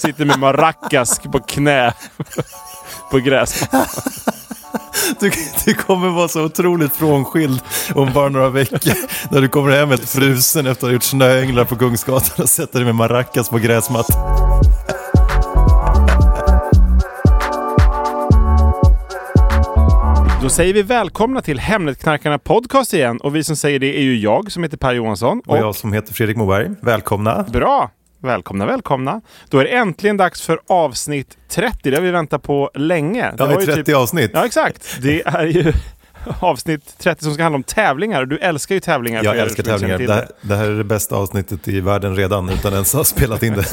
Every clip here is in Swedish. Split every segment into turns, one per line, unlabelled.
Sitter med maracas på knä på gräs.
Du, du kommer vara så otroligt frånskild om bara några veckor. När du kommer hem helt frusen efter att ha gjort snöänglar på Kungsgatan och sätter dig med maracas på gräsmattan.
Då säger vi välkomna till Hemnetknarkarna Podcast igen. Och vi som säger det är ju jag som heter Per Johansson.
Och jag som heter Fredrik Moberg, välkomna.
Bra! Välkomna, välkomna. Då är det äntligen dags för avsnitt 30. Det har vi väntat på länge.
Ja,
var
i
ju typ-
30 avsnitt.
Ja, exakt. Det är ju avsnitt 30 som ska handla om tävlingar. Och Du älskar ju tävlingar. för
Jag
er
älskar
som inte känner
tävlingar.
till
Det här, det här är det bästa avsnittet i världen redan utan ens att ha spelat in det.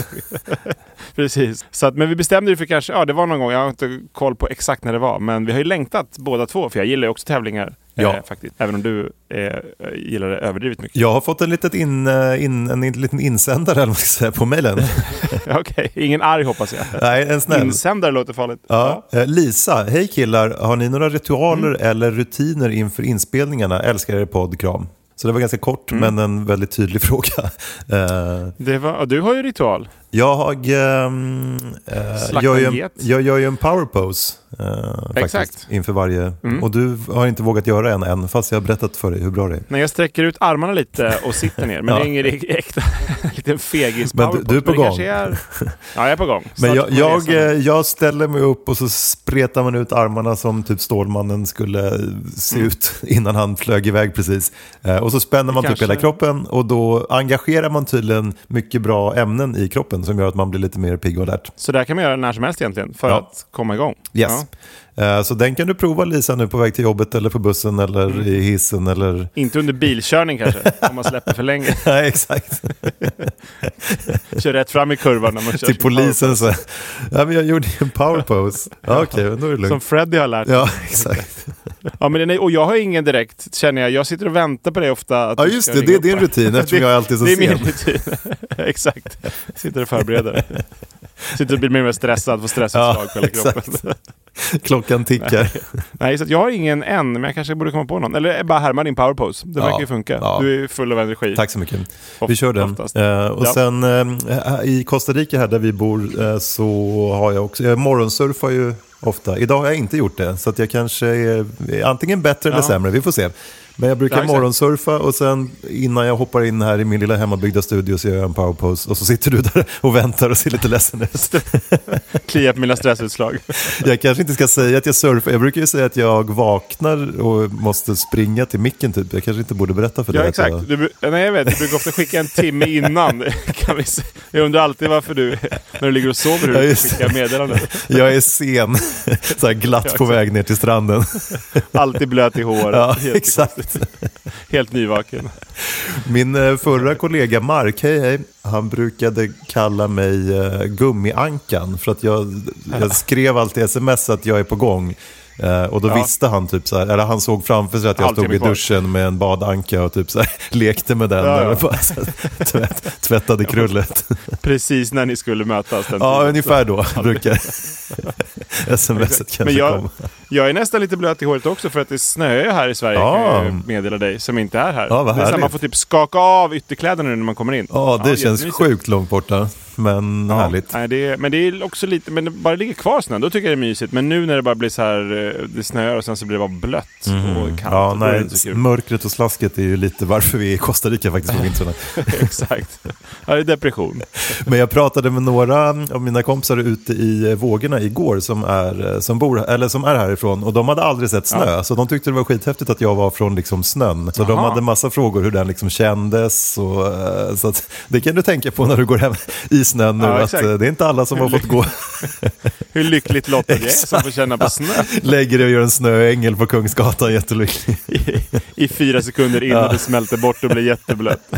Precis. Så att, men vi bestämde ju för kanske, ja det var någon gång, jag har inte koll på exakt när det var, men vi har ju längtat båda två, för jag gillar ju också tävlingar.
Ja.
Eh, faktiskt. Även om du eh, gillar det överdrivet mycket.
Jag har fått en, litet in, eh, in, en liten insändare eller vad man ska säga, på mejlen.
Okej, ingen arg hoppas jag.
Nej, en snäll.
Insändare låter farligt.
Ja. eh, Lisa, hej killar. Har ni några ritualer
Mm.
eller rutiner inför inspelningarna? Älskar er podd, kram. Så det var ganska kort
Mm.
men en väldigt tydlig fråga. Eh,
Det var, och du har ju ritual.
jag, ehm, eh,
Slakta
gör ju
get.
en, jag gör ju en power pose eh,
Exakt. Mm.
faktiskt, inför varje. Och du har inte vågat göra en än, fast jag har berättat för dig hur bra det är.
När jag sträcker ut armarna lite och sitter ner, men
Ja.
det är ingen rik- äkta liten fegis
Men du-
powerpoint,
du är på
men det
gång.
kanske Är... Ja, jag är på gång.
Men
Snart
jag,
kommer
jag,
resan.
eh, jag ställer mig upp och så spretar man ut armarna som typ Stålmannen skulle se
Mm.
ut innan han flög iväg precis. Eh, Och så spänner man typ
Kanske.
hela kroppen och då engagerar man tydligen mycket bra ämnen i kroppen som gör att man blir lite mer pigg och alert.
Så där kan man göra när som helst egentligen, för
Ja.
att komma igång.
Yes.
Ja.
Eh, Så den kan du prova Lisa nu på väg till jobbet eller på bussen eller
Mm.
i hissen eller...
Inte under bilkörning kanske, om man släpper för länge.
Nej, exakt.
Kör rätt fram i kurvan när man kör.
Till
sin
polisen så. Ja, men jag gjorde ju en power pose. Ja, Okej, men då är
power-
det
Som
lugnt.
Freddy har lärt. Ja.
Ja, exakt.
men den är, och jag har ingen direkt, känner jag. Jag sitter och väntar på det ofta. Att
Ja,
du
just
ska
det. Det
ringa
är din
upp här.
rutin eftersom jag är alltid så
Det är
sen.
min rutin. Exakt. Sitter och förbereder. Sitter och blir mer och mer stressad, får stressutslag på hela kroppen.
Klockan tickar.
Nej, så att jag har ingen än, men jag kanske borde komma på någon. Eller eh, bara härma din powerpose. Det
Ja.
verkar ju funka.
Ja.
Du är full av energi.
Tack så mycket.
Of-
Vi kör den.
oftast.
Eh, och
Ja.
sen eh, i Costa Rica här där vi bor eh, så har jag också, jag morgonsurfar ju ofta. Idag har jag inte gjort det, så att jag kanske är är antingen bättre eller
Ja.
sämre, vi får se. Men jag
Det
brukar
har jag
morgonsurfa och sen innan jag hoppar in här i min lilla hemmabyggda studio så gör jag en powerpose och så sitter du där och väntar och ser lite ledsen ut.
Klia på mina stressutslag.
Jag kanske inte ska säga att jag surfar, jag brukar ju säga att jag vaknar och måste springa till micken typ. Jag kanske inte borde berätta för dig
Ja,
att jag-
exakt. Du, bru- nej, jag vet. Du brukar ofta skicka en timme innan. Kan vi se. Jag undrar alltid varför du, när du ligger och sover, hur
Ja,
du
just
skickar meddelanden.
Jag är sen, så här glatt på väg ner till stranden.
Alltid blöt i håret.
Ja,
helt,
exakt.
helt nyvaken.
Min eh, förra kollega Mark, hej hej, han brukade kalla mig eh, gummiankan för att jag, jag skrev alltid sms att jag är på gång. Eh, Och då
Ja.
visste han typ så här, eller han såg framför sig att jag
Halvtimme
stod i
kvar.
duschen med en badanka och typ så här, lekte med den.
Ja, ja.
Och bara så här, tvätt, tvättade krullet.
Precis när ni skulle mötas den
Ja,
tiden.
ungefär då brukar smset kanske
Men
kom.
jag, jag är nästan lite blöt i håret också för att det snöar ju här i Sverige,
Ja.
kan jag ju meddela dig, som inte är här.
Ja, vad
det är så här,
härligt.
man får typ skaka av ytterkläderna nu när man kommer in.
Ja, det känns
jättemysigt.
sjukt långt borta. men
Ja.
härligt.
Nej, det är, men det är också lite, men det bara ligger kvar snön, då tycker jag det är mysigt. Men nu när det bara blir så här, eh, det snöar och sen så blir det bara blött och kallt.
Mm. Ja,
då är det
nej,
inte så kul.
mörkret och slasket är ju lite varför vi är i Costa Rica faktiskt på vintrarna.
Exakt. Ja, det är depression.
Men jag pratade med några av mina kompisar ute i eh, vågorna igår som är, eh, som bor, eller som är härifrån och de hade aldrig sett snö. Så de tyckte det var skithäftigt att jag var från liksom snön. Så de
Aha.
hade massa frågor hur den liksom kändes. Och, eh, så att, det kan du tänka på när du går hem i snön nu.
Ja,
att,
exakt.
eh, det är inte alla som har fått gå
Hur lyckligt lottad jag är som får känna på snö
lägger dig och gör en snöängel på Kungsgatan jättelycklig.
i fyra sekunder innan det smälter bort och blir jätteblött.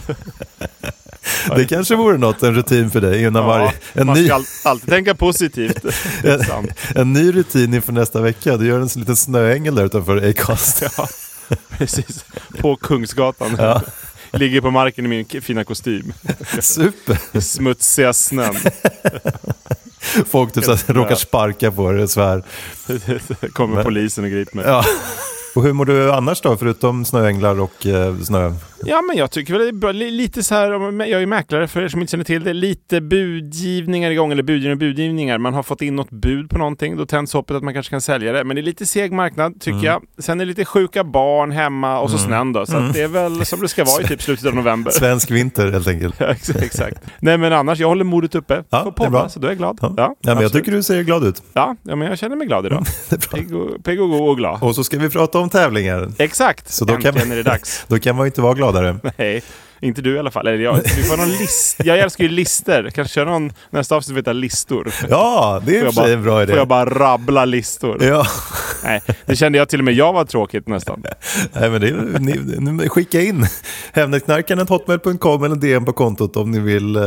Det kanske vore något, en rutin för dig innan varje... En
man
ny,
ska al- alltid tänka positivt. Det är sant.
en ny rutin inför nästa vecka. Du gör en liten snöängel där utanför Acast.
Ja, precis. På Kungsgatan. Ligger på marken i min k- fina kostym.
Super!
Smutsiga snön.
Folk typ så här, råkar sparka på dig och svär.
Kommer polisen och griper mig.
Ja. Och hur mår du annars då, förutom snöänglar och eh, snö?
Ja, men jag tycker väl det är bra. Li- lite så här, om- jag är mäklare för er som inte känner till det, lite budgivningar igång, eller budgivningar och budgivningar. Man har fått in något bud på någonting, då tänds hoppet att man kanske kan sälja det. Men det är lite seg marknad, tycker
Mm.
jag. Sen är det lite sjuka barn hemma och så snön då.
Mm.
Så att det är väl som det ska vara i typ slutet av november.
Svensk vinter helt enkelt.
Ja, ex- Exakt. Nej men annars, jag håller modet uppe.
Ja,
Får
det är
podda,
bra.
så då är jag glad.
Ja. Ja, men jag
absolut.
tycker du ser glad ut.
ja, ja, men jag känner mig glad idag.
Det är bra.
Pigg och, pigg och god och glad.
Och så ska vi prata om tävlingar.
Exakt!
Så då
Äntligen
kan, man,
är det dags.
då kan man ju inte vara gladare.
Nej, inte du i alla fall. Eller jag, vi får någon list. jag älskar ju lister. Kanske köra någon nästa avsnitt som heter listor.
Ja, det är i
Får
och
jag
för sig en bra
bara,
idé.
får jag bara rabbla listor?
Ja,
Nej, det kände jag till och med jag var tråkigt nästan.
nej, men det är, ni, ni, skicka in hemnetknarkaren.hotmail.com eller DM på kontot om ni vill eh,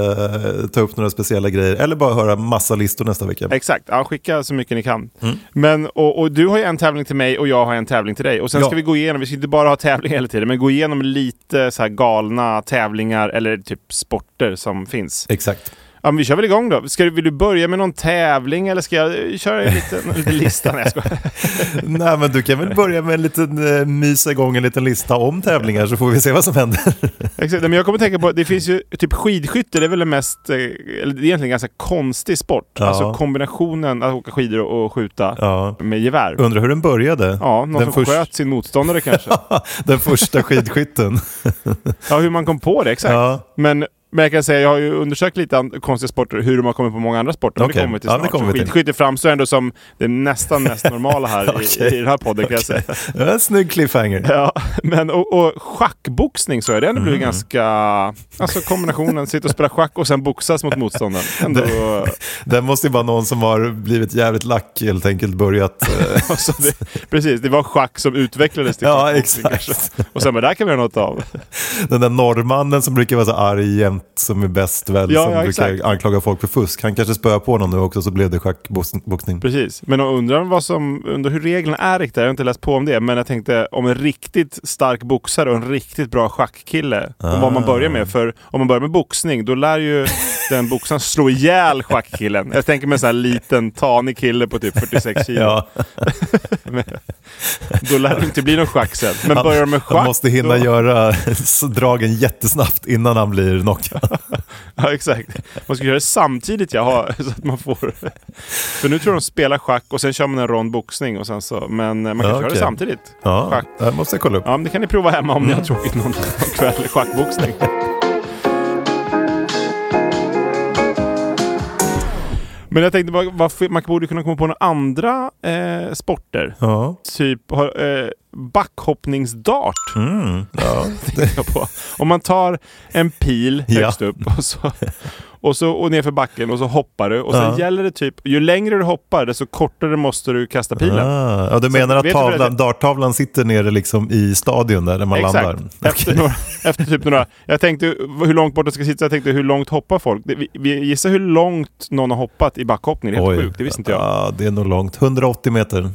ta upp några speciella grejer. Eller bara höra massa listor nästa vecka.
Exakt, ja, skicka så mycket ni kan.
Mm.
Men, och, och du har ju en tävling till mig och jag har en tävling till dig. Och sen
Ja.
ska vi gå igenom, vi ska inte bara ha tävling hela tiden, men gå igenom lite så här galna tävlingar eller typ sporter som finns.
Exakt.
Ja, men vi kör väl igång då. Ska, du- vill du börja med någon tävling eller ska jag eh, köra en liten, en liten lista? Nej, jag skojar.
Nej, men du kan väl börja med en liten eh, mysa igång en liten lista om tävlingar så får vi se vad som händer.
Exakt, men jag kommer tänka på, det finns ju typ skidskytte, det är väl den mest, eh, eller det är egentligen en ganska konstig sport.
Ja.
Alltså kombinationen att åka skidor och, och skjuta
Ja.
med gevär.
Undrar hur den började?
Ja, någon som
förs-
sköt sin motståndare kanske.
den första skidskytten.
Ja, hur man kom på det, exakt.
Ja.
Men, men jag kan säga, jag har ju undersökt lite an- konstiga sporter, hur de har kommit på många andra sporter. Men det
Okej.
kommer vi till
Ja,
snart.
det kommer vi till.
Skidskytte framstår ändå som det nästan mest normala här i, i den här podden, kan jag säga.
Ja, en snygg cliffhanger.
Ja, men och, och schackboxning så är det ändå
Mm.
blivit ganska... Alltså kombinationen, sitta och spela schack och sen boxas mot motståndaren. Ändå,
Den måste ju vara någon som har blivit jävligt lack helt enkelt börjat. eh,
alltså, det, precis, det var schack som utvecklades till
ja,
schackboxning kanske.
exakt.
Och sen bara, där kan vi göra något av.
Den där norrmannen som brukar vara så arg jämt, som är bäst väl,
Ja,
som
ja,
brukar
exakt.
anklaga folk för fusk. Han kanske spöar på någon nu också så blev det schackboxning.
Precis, men jag undrar, vad som, undrar hur reglerna är riktigt. Jag har inte läst på om det, men jag tänkte om en riktigt stark boxare och en riktigt bra schackkille. Om vad man börjar
Ah.
med. För om man börjar med boxning, då lär ju den boxaren slå ihjäl schackkillen. Jag tänker mig en sån här liten tanig kille på typ 46 kilo.
Ja,
Då lär det inte bli någon schack sen. Men börjar de med schack...
han måste hinna
då,
göra dragen jättesnabbt innan han blir knockad.
Ja, exakt. Man ska göra det samtidigt, jaha, så att man får... För nu tror de spelar schack och sen kör man en rond boxning och sen så... Men eh, man kan
Ja,
köra det
okej.
samtidigt.
Ja,
Schack.
det måste jag kolla upp.
Ja, men det kan ni prova hemma om ni har tråkigt någon, någon kväll. Schackboxning. Men jag tänkte bara, varför, man borde kunna komma på några andra eh, sporter.
Ja.
Typ har, eh, backhoppningsdart.
Mm. Ja.
tänkte jag på. Om man tar en pil
Ja.
högst upp och så, och så och ner för backen och så hoppar du. Och sen
Ja.
gäller det typ, ju längre du hoppar desto kortare måste du kasta pilen.
Ah, ja, du menar
vet
att
du hur det-
tavlan, darttavlan sitter nere liksom i stadion där, där man landar?
Efter, några, efter typ några... Jag tänkte hur långt bort de ska sitta, jag tänkte hur långt hoppar folk? Det- Vi, vi gissar hur långt någon har hoppat i backhoppning. Det är helt sjukt, det visste inte jag.
Ja, det är nog långt. 180 meter.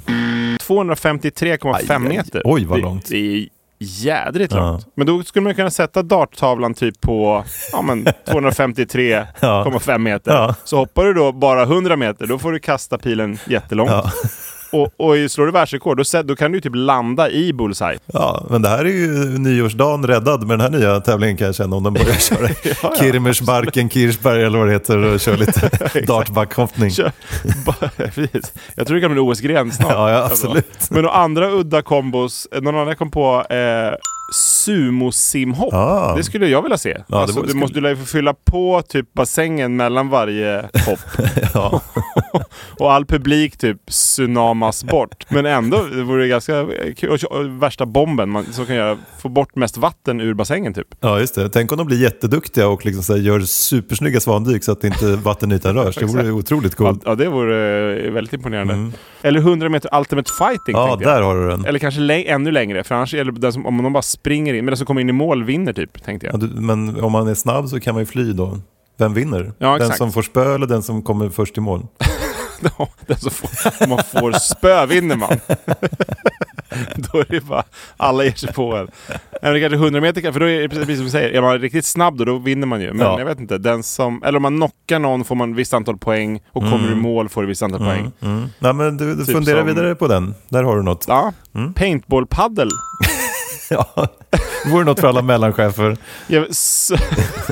253,5
Aj, aj.
meter.
Oj, vad
Det-
långt.
Det är jädrigt
Ja.
långt. Men då skulle man kunna sätta darttavlan typ på ja, men 253,5 meter.
Ja.
Så hoppar du då bara 100 meter, då får du kasta pilen jättelångt.
Ja.
och, och slår du världsrekord, då, sä- då kan du ju typ landa i bullseye.
Ja, men det här är ju nyårsdagen räddad med den här nya tävlingen kan jag känna om de börjar köra
ja,
Kirmersbarken, Kirchberg eller vad det heter och kör lite dartbackhoppning.
Kör. Bara- Precis. Jag tror det kan bli en OS-gren snart. Alltså.
Ja, ja, absolut.
Men några andra udda kombos, eh, någon annan kom på eh, sumosimhopp.
Ah.
Det skulle jag vilja se.
det
alltså,
vore-
du, måste, du lär ju få fylla på typ bassängen mellan varje hopp.
Ja.
Och all publik typ tsunamas bort. Men ändå, det vore ganska kul. Och- Och värsta bomben man, som kan göra, få bort mest vatten ur bassängen typ.
ja, just det. Tänk om de blir jätteduktiga och liksom så här gör supersnygga svandyk så att inte vattenytan rörs. Det vore ju otroligt
Ja,
coolt.
ja, det vore eh, väldigt imponerande. Eller 100 meter ultimate fighting
Mm. Ja,
tänkte jag.
där har du den.
Eller kanske lä- ännu längre, för annars är det den som, om de bara springer in, men den som kommer in i mål vinner typ, tänkte
Ja,
jag.
du, men om man är snabb så kan man ju fly då. Vem vinner?
Ja,
den
exakt.
som får spö eller den som kommer först i mål?
Ja, den som får, om man får spö vinner man. då är det bara, alla ger sig på en. Nej, men det kanske är 100 meter, kan- för då är det precis som du säger, är man riktigt snabb då, då vinner man ju. Men
Ja.
jag vet inte, den som, eller om man knockar någon får man visst antal poäng och kommer du i mål får du visst antal poäng.
Mm. Nej, men du, du
Typ
funderar
som-
vidare på den. Där har du något.
Ja,
Mm.
paintball-paddel.
Ja. vore något för alla mellanchefer.
Jag- s-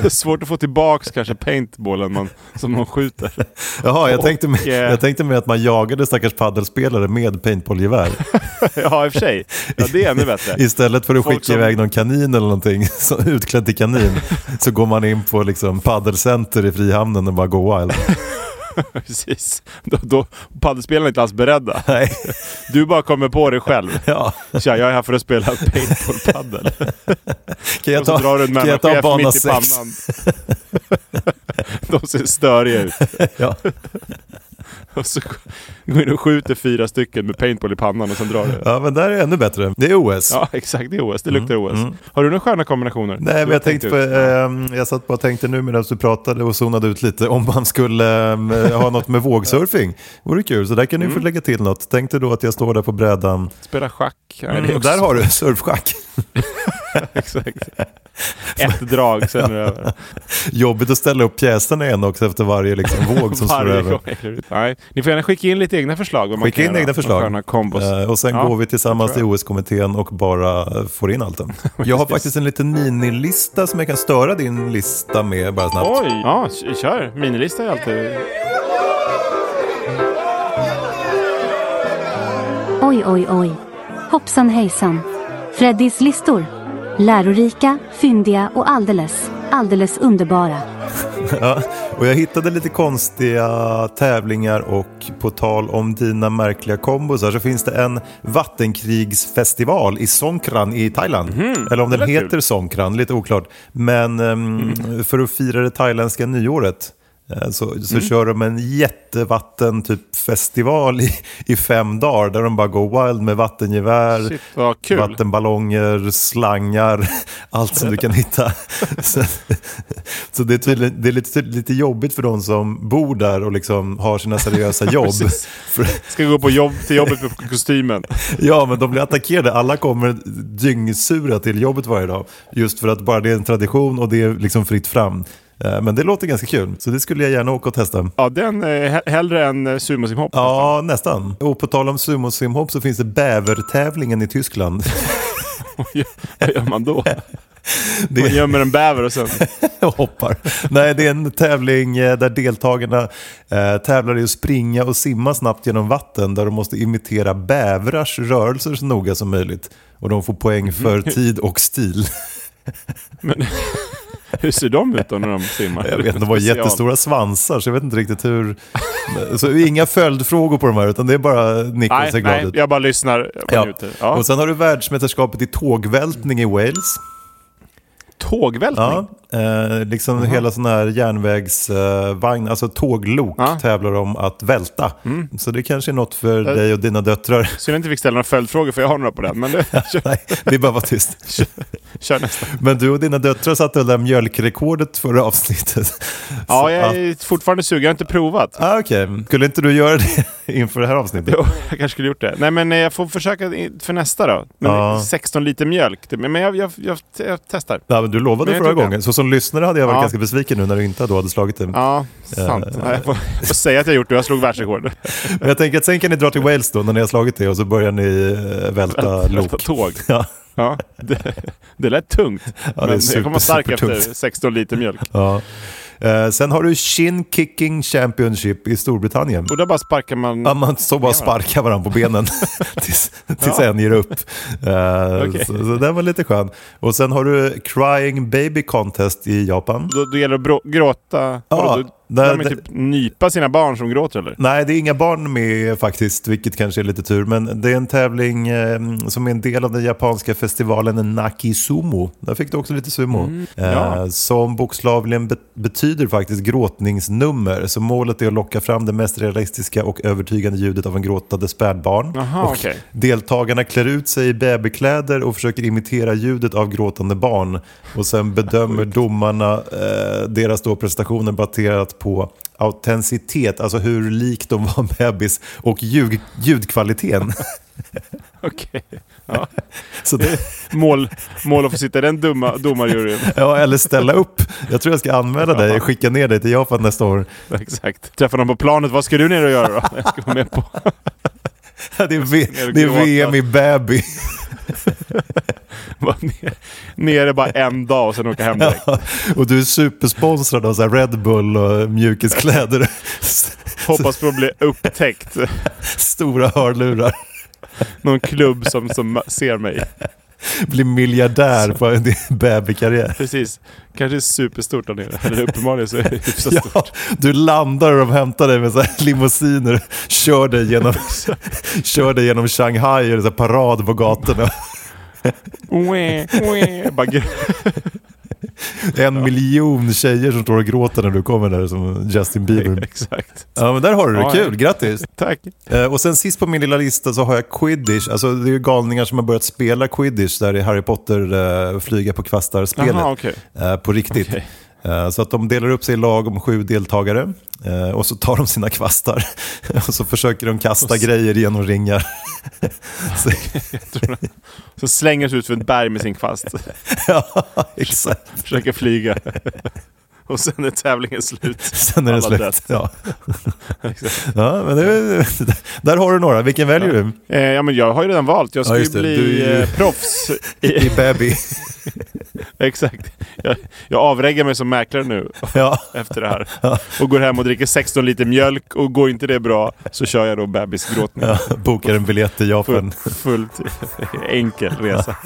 Svårt att få tillbaks kanske paintballen man, som man skjuter.
Jaha, jag tänkte, med,
eh,
jag tänkte med att man jagade stackars paddelspelare med paintballgevär.
Ja, i och för sig. Ja, det är ännu bättre.
Istället för att
Folk
skicka
som-
iväg någon kanin eller någonting, så utklädd till kanin, så går man in på liksom paddelcenter i Frihamnen och bara går wild.
Precis. Då, då paddelspelarna är inte alls beredda.
Nej,
Du bara kommer på dig själv.
ja.
Tja, jag är här för att spela paintball-paddel.
Kan jag
Och så
ta,
drar du en
kan jag ta
mellanchef
bana
mitt i
6?
pannan. De ser störiga ut.
Ja.
Och så går in och skjuter fyra stycken med paintball i pannan och sen drar du.
ja, men där är ännu bättre. Det är OS.
Ja, exakt. Det är OS. Det luktar OS. Har du några sköna kombinationer?
Mm, Nej,
Du
men
har
jag
tänkt
tänkte på,
ut?
ehm, jag satt bara och tänkte nu medan du pratade och zonade ut lite om man skulle ehm, ha något med vågsurfing. Vore kul, så där kan du
Mm.
få lägga till något. Tänkte då att jag står där på brädan.
Spela schack. Nej, det är
Mm,
också-
där har du surfschack.
Exakt. Ett drag, sen är det över.
Jobbigt att ställa upp pjäserna igen också efter varje liksom, våg som slår
Varje
över.
gång. Nej, ni får gärna skicka in lite egna förslag. vad man
Skicka
kan
in
göra.
egna förslag.
Sköna kombos.
Eh, Och sen
Ja,
går vi tillsammans
det
till
tror
OS-kommittén och bara eh, får in allt det. Jag har faktiskt en liten minilista som jag kan störa din lista med bara snabbt.
Oj! Ja, k- kör. Minilista är alltid...
Oj, oj, oj. Hoppsan hejsan. Freddys listor. Lärorika, fyndiga och alldeles, alldeles underbara.
Ja, och jag hittade lite konstiga tävlingar och på tal om dina märkliga kombosar så finns det en vattenkrigsfestival i Songkran i Thailand.
Mhm.
Eller om den heter Songkran, lite oklart. Men ehm,
Mhm.
för att fira det thailändska nyåret eh, så, så kör de en jättevatten typ festival i, i fem dagar där de bara går wild med vattengevär,
Shit, vad kul.
vattenballonger, slangar, allt som du kan hitta. så så det är, tydligen, det är lite, lite jobbigt för de som bor där och liksom har sina seriösa jobb.
Precis.
för,
Ska gå på jobb, till jobbet med kostymen.
ja, men de blir attackerade. Alla kommer dyngsura till jobbet varje dag. Just för att bara det är en tradition och det är liksom fritt fram. Eh, Men det låter ganska kul, så det skulle jag gärna åka och testa.
Ja, den... eh, he- Hellre än eh, sumosimhopp.
Ja, nästan. Och på tal om sumosimhopp så finns det bävertävlingen i Tyskland.
Vad gör man då?
Det-
Man gömmer en bäver och sen...
Jag hoppar. Nej, det är en tävling eh, där deltagarna eh, tävlar i att springa och simma snabbt genom vatten där de måste imitera bävrars rörelser så noga som möjligt. Och de får poäng för
Mm-hmm.
tid och stil.
Hur ser de ut då när de simmar?
Jag vet, de har
Special.
jättestora svansar så jag vet inte riktigt hur... Så inga följdfrågor på de här utan det är bara nicka och
Nej,
se
nej,
glad ut.
jag bara lyssnar. Jag bara
Ja.
njuter. Ja.
Och sen har du världsmästerskapet i tågvältning i Wales.
Tågvältning?
Ja, eh, liksom hela sån här järnvägsvagn, alltså tåglok
Ja. Mm. Eh.
tävlar om att välta. Så det kanske är något för dig och dina döttrar.
Så jag inte fick ställa några följdfrågor, för jag har några på den. Men det, kör,
Nej, det är bara att vara tyst.
kör nästa.
Men du och dina döttrar satte väl det där mjölkrekordet förra avsnittet?
Ja, jag är fortfarande sugen. Jag har inte provat.
Ah, Okej, skulle inte du göra det inför det här avsnittet?
Jo, jag kanske skulle gjort det. Nej, men eh, jag får försöka i- för nästa då. Men
Ja.
16 liter mjölk. det- Men jag, jag, jag, jag testar.
Ja, men du lovade
Men jag
förra
tog
gången. Så som lyssnare hade jag varit
Ja.
ganska besviken nu när du inte då hade slagit den.
Ja, sant. Nej, jag, får, jag får säga att jag gjort det. Jag slog världsrekord.
Men jag tänker att sen kan ni dra till Wales då när ni har slagit det och så börjar ni eh, välta
Välta
lok.
tåg.
Ja,
Ja, det, det lät tungt.
det är
men jag
super,
kommer vara stark efter
supertungt.
16 liter mjölk.
ja. Eh, sen har du Shin Kicking Championship i Storbritannien.
Och där bara sparkar man...
Ja, man så bara sparkar varandra på benen tills, tills
Ja.
en ger upp. Eh,
Okej.
så, så den var lite skön. Och sen har du Crying Baby Contest i Japan.
Då, då gäller det att brå- gråta.
Ja,
Ja, då,
där-
där, man
där-
typ nypa sina barn som gråter eller?
Nej, det är inga barn med faktiskt, vilket kanske är lite tur. Men det är en tävling eh, som är en del av den japanska festivalen Nakisumo. Där fick du också lite sumo.
ja.
eh, som bokstavligen be- betyder faktiskt gråtningsnummer. Så målet är att locka fram det mest realistiska och övertygande ljudet av en gråtande spädbarn.
Jaha,
och
okej.
Deltagarna klär ut sig i babykläder och försöker imitera ljudet av gråtande barn. Och sen bedömer domarna eh, deras då prestationer baserat på autenticitet, alltså hur lik de var bebis, och ljud, ljudkvaliteten.
Okej. Ja.
Så det,
Mål, mål att få sitta i den dumma domarjuryn.
ja, eller ställa upp. Jag tror jag ska anmäla dig och skicka ner dig till Japan nästa år.
Exakt. Träffa någon på planet. Vad ska du ner och göra då? Jag ska vara med på...
Det är, v,
Ner och
det är
gråta.
VM i baby.
vara ner- Nere bara en dag och sen åka hem direkt.
Och du är supersponsrad av så här Red Bull och mjukiskläder.
Hoppas på att bli upptäckt.
Stora hörlurar.
Någon klubb som, som ser mig.
Bli miljardär på en babykarriär.
Precis. Kanske är superstort där nere. Eller uppenbarligen så är det hyfsat stort.
Ja, du landar och de hämtar dig med så här limousiner. Kör dig genom, kör dig genom Shanghai och det är så här parad på gatorna.
Oe, oe. Bara gr-
En miljon tjejer som står och gråter när du kommer där som Justin Bieber.
Exakt.
Ja men där har du det,
Ja,
kul,
ja.
grattis!
Tack.
Eh, Och sen sist på min lilla lista så har jag quidditch. Alltså det är ju galningar som har börjat spela quidditch där i Harry Potter eh, flyga på kvastar-spelet.
Jaha, okej.
eh, på riktigt.
Okej.
Eh, Så att de delar upp sig i lag om sju deltagare eh, och så tar de sina kvastar och så försöker de kasta grejer genom ringar. så,
Så slänger sig ut för ett berg med sin kvast.
ja, exakt.
Försöker flyga. Och sen är tävlingen slut.
Sen är det
Alla
slut.
dött.
Ja. ja, men det, är- där har du några. Vilken väljer du?
Eh, ja, men jag har ju redan valt. Jag ska
Ja,
ju
just det.
bli
Du är ju-
eh, proffs.
I baby.
Exakt. Jag, jag avreggar mig som mäklare nu
Ja.
efter det här. Och går hem och dricker 16 liter mjölk och går inte det bra så kör jag då bebisgråtning.
ja, bokar en biljett till
Full,
Japan.
fullt enkel resa.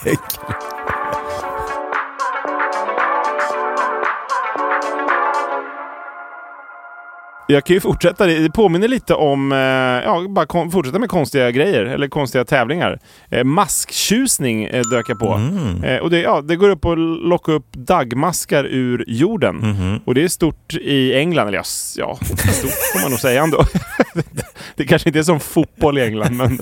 Jag kan ju fortsätta. Det det påminner lite om, eh, ja, bara kon- fortsätta med konstiga grejer eller konstiga tävlingar. Eh, masktjusning eh, dök jag på. Eh, och det, ja, det går upp att locka upp dagmaskar ur jorden. Och det är stort i England, eller ja, s- ja stort får man nog säga ändå. det kanske inte är som fotboll i England, men,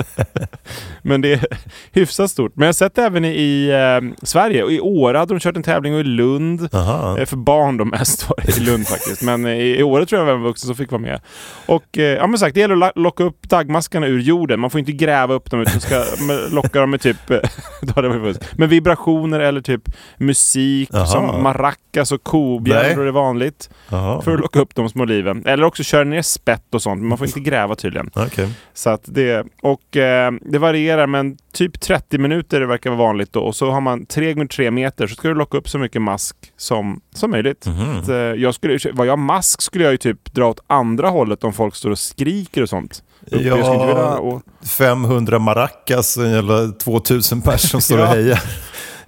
men det är hyfsat stort. Men jag har sett det även i, i eh, Sverige. Och I Åre hade de kört en tävling och i Lund.
Aha.
Eh, För barn de mest var i Lund faktiskt. Men eh, i, i Åre tror jag även vuxen som fick vara med. Och eh, ja men sagt, det gäller att la- locka upp dagmaskarna ur jorden. Man får inte gräva upp dem utan ska men, locka dem med typ... eh, då hade man ju vunnit. men vibrationer eller typ musik
Jaha.
som maracas och
Nej.
kobjällror är vanligt.
Aha.
För att locka upp de små liven. Eller också köra ner spett och sånt. Men man får inte gräva tydligen.
Okej.
Så att det, och eh, det varierar men typ 30 minuter det verkar vara vanligt då. Och så har man 3 gånger 3 meter så ska du locka upp så mycket mask som, som möjligt. Så, eh, jag skulle, var jag mask skulle jag ju typ dra åt andra hållet om folk står och skriker och sånt. Uppe,
Ja.
jag skulle inte vilja, och,
500 maracas, eh, eller 2000 personer som står och
Ja.
hejar.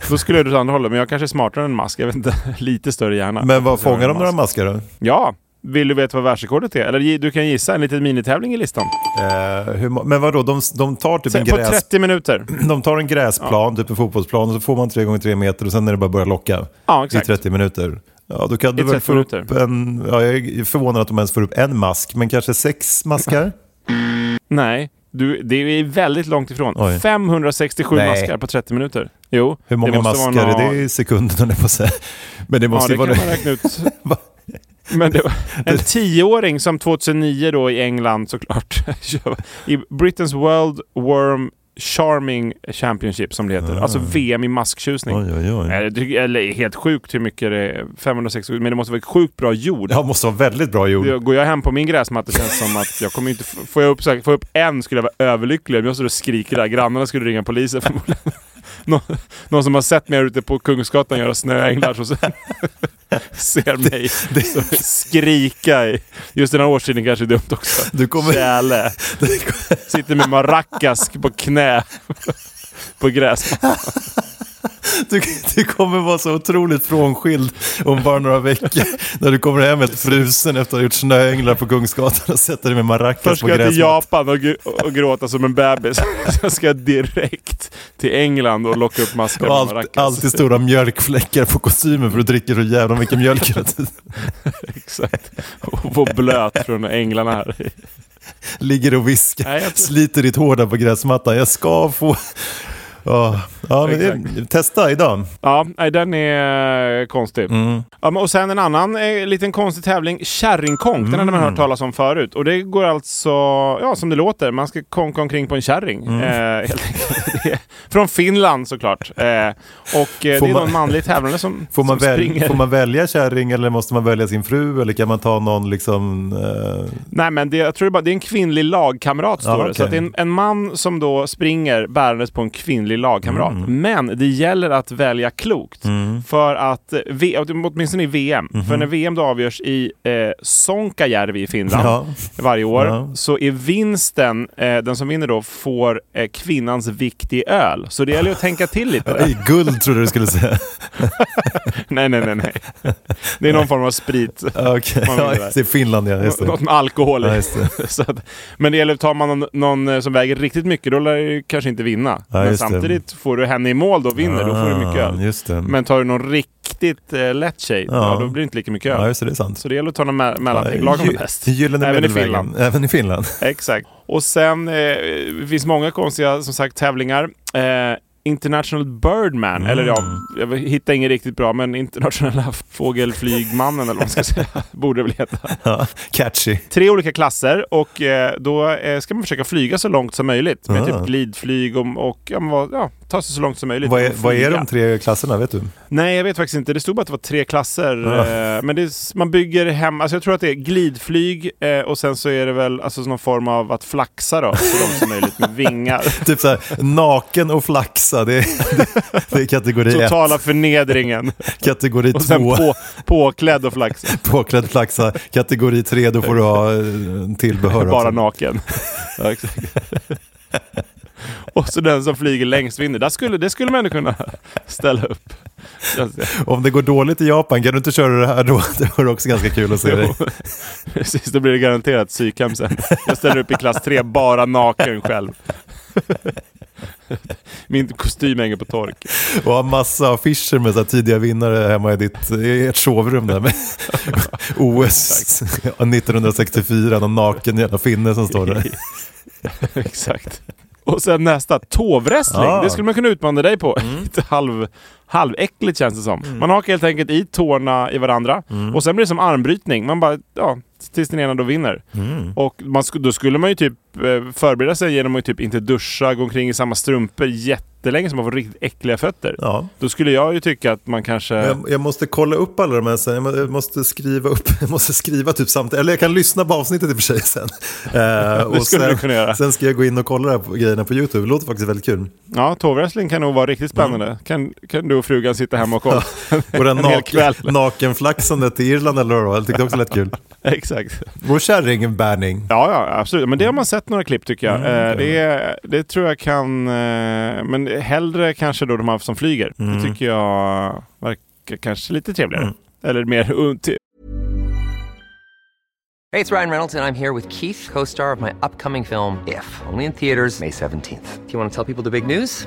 då skulle jag dra åt andra hållet men jag kanske är smartare än mask. Jag vet inte, lite större hjärna.
Men vad
Jag
fångar
är
de några
mask.
maskar då?
Ja, vill du veta vad världsrekordet är? Eller gi- du kan gissa, en liten minitävling i listan.
Eh, hur, ma- men vadå, de, de tar typ en
Säg, På
gräs...
30 minuter.
De tar en gräsplan, typ en fotbollsplan, och så får man 3 gånger 3 meter och sen är det bara att börja locka.
Ja,
I
exakt.
30 minuter. Ja, då kan du väl
30
få upp
minuter.
en... Ja, jag är förvånad att de ens får upp en mask, men kanske sex maskar?
Nej, du, det är väldigt långt ifrån.
Oj.
567
Nej.
maskar på 30 minuter. Jo,
Hur många
det måste
maskar
vara
är det i sekunden, höll jag på att säga. Men det
Ja, det
måste ju
kan
vara...
man räkna ut.
Va?
Men det var en tioåring som 2009 då i England såklart, i Britain's World Worm Charming Championship som det heter. Alltså VM i masktjusning.
Ah. Oj, oj, oj.
Nej, jag tycker- Eller helt sjukt hur mycket det är. 560, men det måste vara sjukt bra jord.
Ja, måste vara väldigt bra gjord.
Jag- Går jag hem på min gräsmatta känns det som att jag kommer inte... f- Får jag upp, så här- får jag upp en skulle jag vara överlycklig. Men Jag står och skriker där. Grannarna skulle ringa polisen förmodligen. Nå, någon som har sett mig här ute på Kungsgatan göra snöänglar så så- ser mig så skrika. i- Just den här årstiden kanske är dumt också.
Du kommer-
Tjäle. Sitter med maracas på knä på gräsmattan.
Du, du kommer vara så otroligt frånskild om bara några veckor. När du kommer hem helt frusen efter att ha gjort snöänglar på Kungsgatan och sätter dig med maracas
Först ska
på
jag till
gräsmattan.
Japan och, gr- och gråta som en bebis. Sen ska jag direkt till England och locka upp maskar
Och
med
allt,
maracas.
alltid stora mjölkfläckar på kostymen för du dricker så jävla mycket mjölk hela tiden.
Exakt. Och få blöt från änglarna här.
Ligger och viskar,
Nej, jag tror-
sliter ditt hår där på gräsmattan. Jag ska få... Ja, ja men det,
Exakt.
testa idag.
Ja, nej, den är eh, konstig.
Mm.
Ja, men och sen en annan eh, liten konstig tävling, kärringkonk. Den hade man
Mm.
hört talas om förut. Och det går alltså, ja som det låter, man ska konka omkring på en kärring.
Mm.
Eh, helt enkelt. Det är Från Finland såklart. Eh, och eh, det är
Får man-
någon manlig tävlande som,
Får man,
som
väl,
springer.
får man välja kärring eller måste man välja sin fru? Eller kan man ta någon liksom... eh,
Nej, men det, jag tror det, är bara, det är en kvinnlig lagkamrat står
Ja,
det. Så
okej.
att det är en, en man som då springer bärandes på en kvinnlig lagkamrat.
Mm.
Men det gäller att välja klokt. För att, eh, v, åtminstone i VM,
Mhm.
för när VM då avgörs i eh, Sonkajärvi i Finland
Ja.
varje år,
Ja.
så är vinsten, eh, den som vinner då, får eh, kvinnans vikt i öl. Så det gäller ju att tänka till lite. där.
I guld trodde du skulle säga.
nej, nej, nej, nej. Det är någon form av sprit.
Okej,
Man vinner
ja,
där.
det är Finland ja, just det.
Något med alkohol i.
Ja, just det.
Så att, men det gäller, tar man någon, någon eh, som väger riktigt mycket, då lär du ju kanske inte vinna.
Ja,
men
just det.
samtidigt, får du henne i mål då och vinner, då får du mycket
Ah,
öl.
Just det.
Men tar du någon riktigt eh, lätt tjej, ja.
Ja.
då blir det inte lika mycket
ja,
öl.
just det, det är sant.
Så det gäller att ta någon me- mellanting,
Ja,
lagom
gy-
bäst.
Gyllene
Även i
medelvägen.
Finland.
Även i Finland.
Exakt. Och sen eh, det finns många konstiga som sagt tävlingar. Eh, International Birdman, eller ja,
Mm.
jag hittar ingen riktigt bra, men internationella fågelflygmannen eller vad man ska säga, borde det väl heta.
Ja, catchy.
tre olika klasser och eh, då eh, ska man försöka flyga så långt som möjligt med
Ah.
typ glidflyg och, och ja, men vad- ja, ta sig så långt som möjligt.
Vad är,
Och
vad är
flyga.
de tre klasserna, vet du?
Nej, jag vet faktiskt inte. Det stod bara att det var tre klasser.
Ah.
Eh, men det, är s- man bygger hem, alltså jag tror att det är glidflyg eh, och sen så är det väl alltså, någon form av att flaxa då, så långt som möjligt med vingar.
Typ så här, naken och flaxa, det är, det, det är kategori ett.
Totala förnedringen
Kategori
och sen
två,
på, påklädd och flaxa.
påklädd flaxa. Kategori tre, då får du ha eh, tillbehör.
Bara
också.
naken. ja, exakt. Och så den som flyger längst vinner. Där skulle, det skulle man ändå kunna ställa upp. Känns det.
Om det går dåligt i Japan, kan du inte köra det här då? Det vore också ganska kul att se dig.
Precis, då blir det garanterat psykhem sen. Jag ställer upp i klass 3, bara naken själv. Min kostym hänger på tork.
Och ha massa affischer med så här tidiga vinnare hemma i, ditt, i ert sovrum där med OS 1964, någon naken jävla finne som står där.
Exakt. Och sen nästa, tåvwrestling.
Ah. Mm.
Det skulle man kunna utmana dig på. Lite halv, halväckligt känns det som. Man hakar helt enkelt i tårna i varandra.
Mm.
Och sen blir det som armbrytning. Man bara, ja, tills den ena då vinner.
Mm.
Och man, sk- då skulle man ju typ eh, förbereda sig genom att typ inte duscha, gå omkring i samma strumpor jättelänge så man får riktigt äckliga fötter.
Ja.
Då skulle jag ju tycka att man kanske...
Jag, jag måste kolla upp alla de här sen, jag må- jag måste skriva upp, jag måste skriva typ samtidigt, eller jag kan lyssna på avsnittet i och för sig sen. Eh, och
skulle
sen,
du kunna göra.
Sen ska jag gå in och kolla det här på, grejerna på YouTube, det låter faktiskt väldigt kul.
Ja, tåvwrestling kan nog vara riktigt spännande.
Mm.
Kan, kan du och frugan sitta hemma och kolla?
Och den
En hel
naken,
kväll.
nakenflaxandet i Irland eller vad det var, jag tyckte också lät kul.
Exakt.
Och kärringbärning.
Ja, ja, absolut. Men det har man sett några klipp tycker jag. eh, det, är- det tror jag kan... Eh, men hellre kanske då de här som flyger. Det tycker jag verkar kanske lite trevligare. Eller mer unt-
Hey, it's Ryan Reynolds, and I'm here with Keith, co star of my upcoming film, If, only in theaters, May 17th. Do you want to tell people the big news?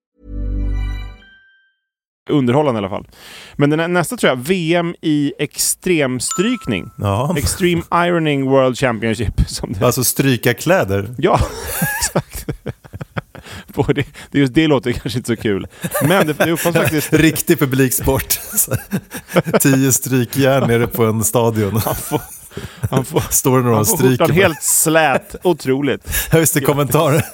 Underhållande i alla fall. Men den här, nästa tror jag, VM i extremstrykning.
Ja.
Extreme Ironing World Championship. Som det
Alltså stryka kläder.
Ja, exakt. Både, det- just det låter kanske inte så kul. Men det, det uppfanns faktiskt...
Riktig publiksport. Tio strykjärn nere på en stadion.
Får, han får,
Står det några
han
och
får skjortan
stryker. Helt...
helt slät. Otroligt.
Just det, kommentaren.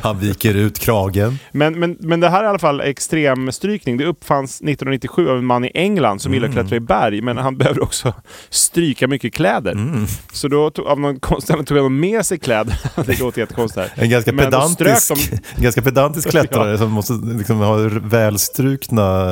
Han viker ut kragen.
Men, men, men det här är i alla fall extremstrykning. Det uppfanns 1997 av en man i England som gillar att klättra i berg, men han behöver också stryka mycket kläder.
Mm.
Så då tog, av någon konstig anledning tog han med sig kläder. det låter jättekonstigt. här.
En ganska
Men då strök
pedantisk,
de-
en ganska pedantisk klättrare som måste liksom ha r- välstrukna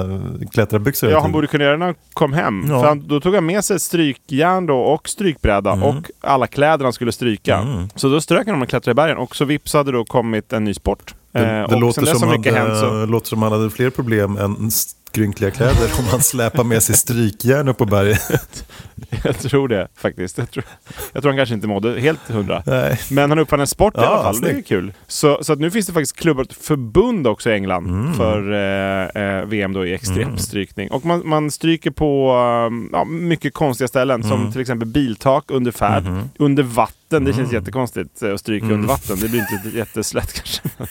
klättrarbyxor.
Ja, han borde kunna göra det när han kom hem.
Ja.
För han, då tog han med sig strykjärn då och strykbräda
Mm.
och alla kläder han skulle stryka. Så då strök han om han klättrade i bergen och så vips hade då kommit en ny sport.
det
Eh,
det
och
låter,
sen dess
som
har
han,
mycket hänt. Så...
eh, låter som han hade fler problem än skrynkliga kläder om han släpar med sig strykjärn upp på berget.
Jag tror det faktiskt. Jag tror, jag tror han kanske inte mådde helt hundra.
Nej.
Men han uppfann en sport i
Ja,
alla fall. Det är ju
snyggt.
kul. Så, så att nu finns det faktiskt klubbar och förbund också i England
Mm.
för eh, eh, VM då i extremstrykning. Och man, man stryker på eh, ja, mycket konstiga ställen
Mm.
som till exempel biltak under färd,
Mhm.
under vatten. Det
Mm.
känns jättekonstigt eh, att stryka under vatten. Det blir inte jätteslätt kanske.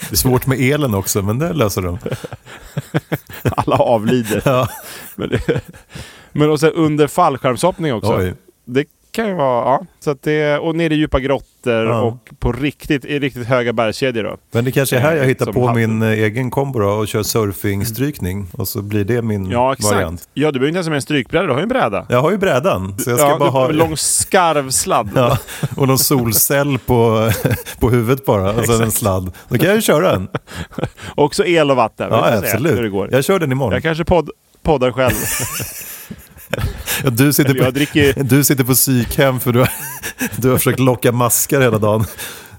Det är svårt med elen också, men det löser de.
Alla avlider.
Ja.
Men, det- men och sen under fallskärmshoppning också.
Oj.
Det kan ju vara, ja. Så att det, och nere i djupa grottor
Ja.
och på riktigt, i riktigt höga bergskedjor då.
Men det kanske är här jag hittar
Som
på
hade-
min eh, egen kombo då, och kör surfingstrykning och så blir det min
Ja, exakt.
Mm. variant.
Ja, du behöver inte ens ha med en strykbräda, du har ju en bräda.
Jag har ju brädan, så jag ska
Ja,
bara
du-
ha...
En lång skarvsladd.
Ja, och någon solcell på, på huvudet bara och sen en sladd. Då kan jag ju köra den.
Också el och vatten. Vi får
Ja,
se Hur det
absolut.
går.
Jag kör den imorgon.
Jag kanske podd, poddar själv.
Ja, Du sitter,
Eller jag dricker-
på, du sitter på psykhem för du har, du har försökt locka maskar hela dagen.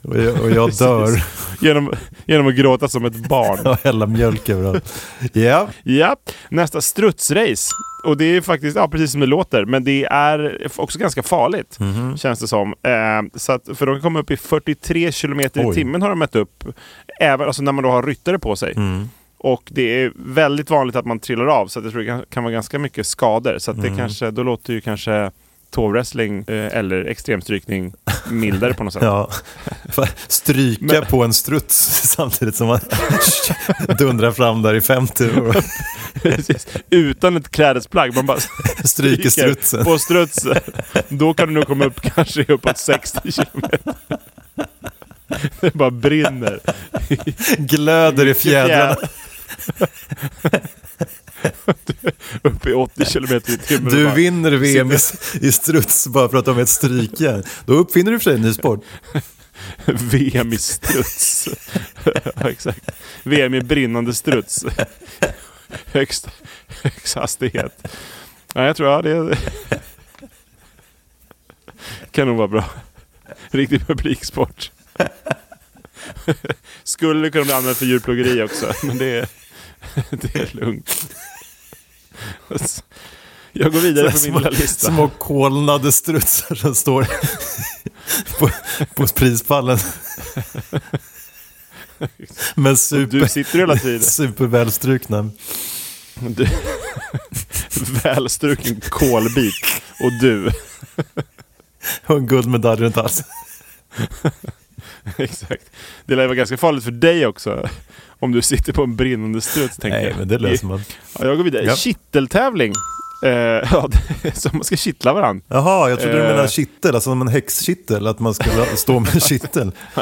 Och jag, och jag dör
genom, genom att gråta som ett barn.
och häller mjölk överallt. Ja,
Ja, nästa strutsrace. Och det är faktiskt ja, precis som det låter, men det är också ganska farligt.
Mhm.
Känns det som. Eh, så att, för de kan komma upp i 43 kilometer i
Oj.
timmen har de mätt upp. Även alltså, när man då har ryttare på sig.
Mm.
Och det är väldigt vanligt att man trillar av, så att jag tror det kan, kan vara ganska mycket skador. Så att
Mm.
det kanske, då låter ju kanske tåwrestling eh, eller extremstrykning mildare på något sätt.
ja. Fan, Stryka
Men-
på en struts samtidigt som man dundrar fram där i 50 och
Precis. Utan ett klädesplagg. Man bara
stryker strutsen.
på strutsen. Då kan du nog komma upp kanske uppåt 60 kilometer. Det bara brinner.
Glöder i fjädrarna.
upp i 80 kilometer i timmen. och
Du
bara-
vinner VM i, i struts bara för att de är ett strykjärn. Då uppfinner du för sig en ny sport.
VM i struts. ja, exakt. VM i brinnande struts. Högst, högst hastighet. Ja, jag tror ja, det kan nog vara bra. Riktig publiksport. Skulle kunna bli använd för djurplågeri också, men det är, det är lugnt. Jag går vidare på min lilla lista.
Små kolnade strutsar som står på, på prispallen. Men
Du
super,
sitter hela tiden.
supervälstrukna.
Du. Välstruken kolbit och du.
Och en guldmedalj runt halsen.
Exakt. Det lär ju vara ganska farligt för dig också. Om du sitter på en brinnande struts tänker
Nej,
jag.
men det löser man.
Ja, jag går vidare.
Ja.
Kitteltävling. Eh, ja, som man ska kittla varandra.
Jaha, jag trodde du
Eh.
menade kittel, alltså som en häxkittel, att man skulle stå med kittel.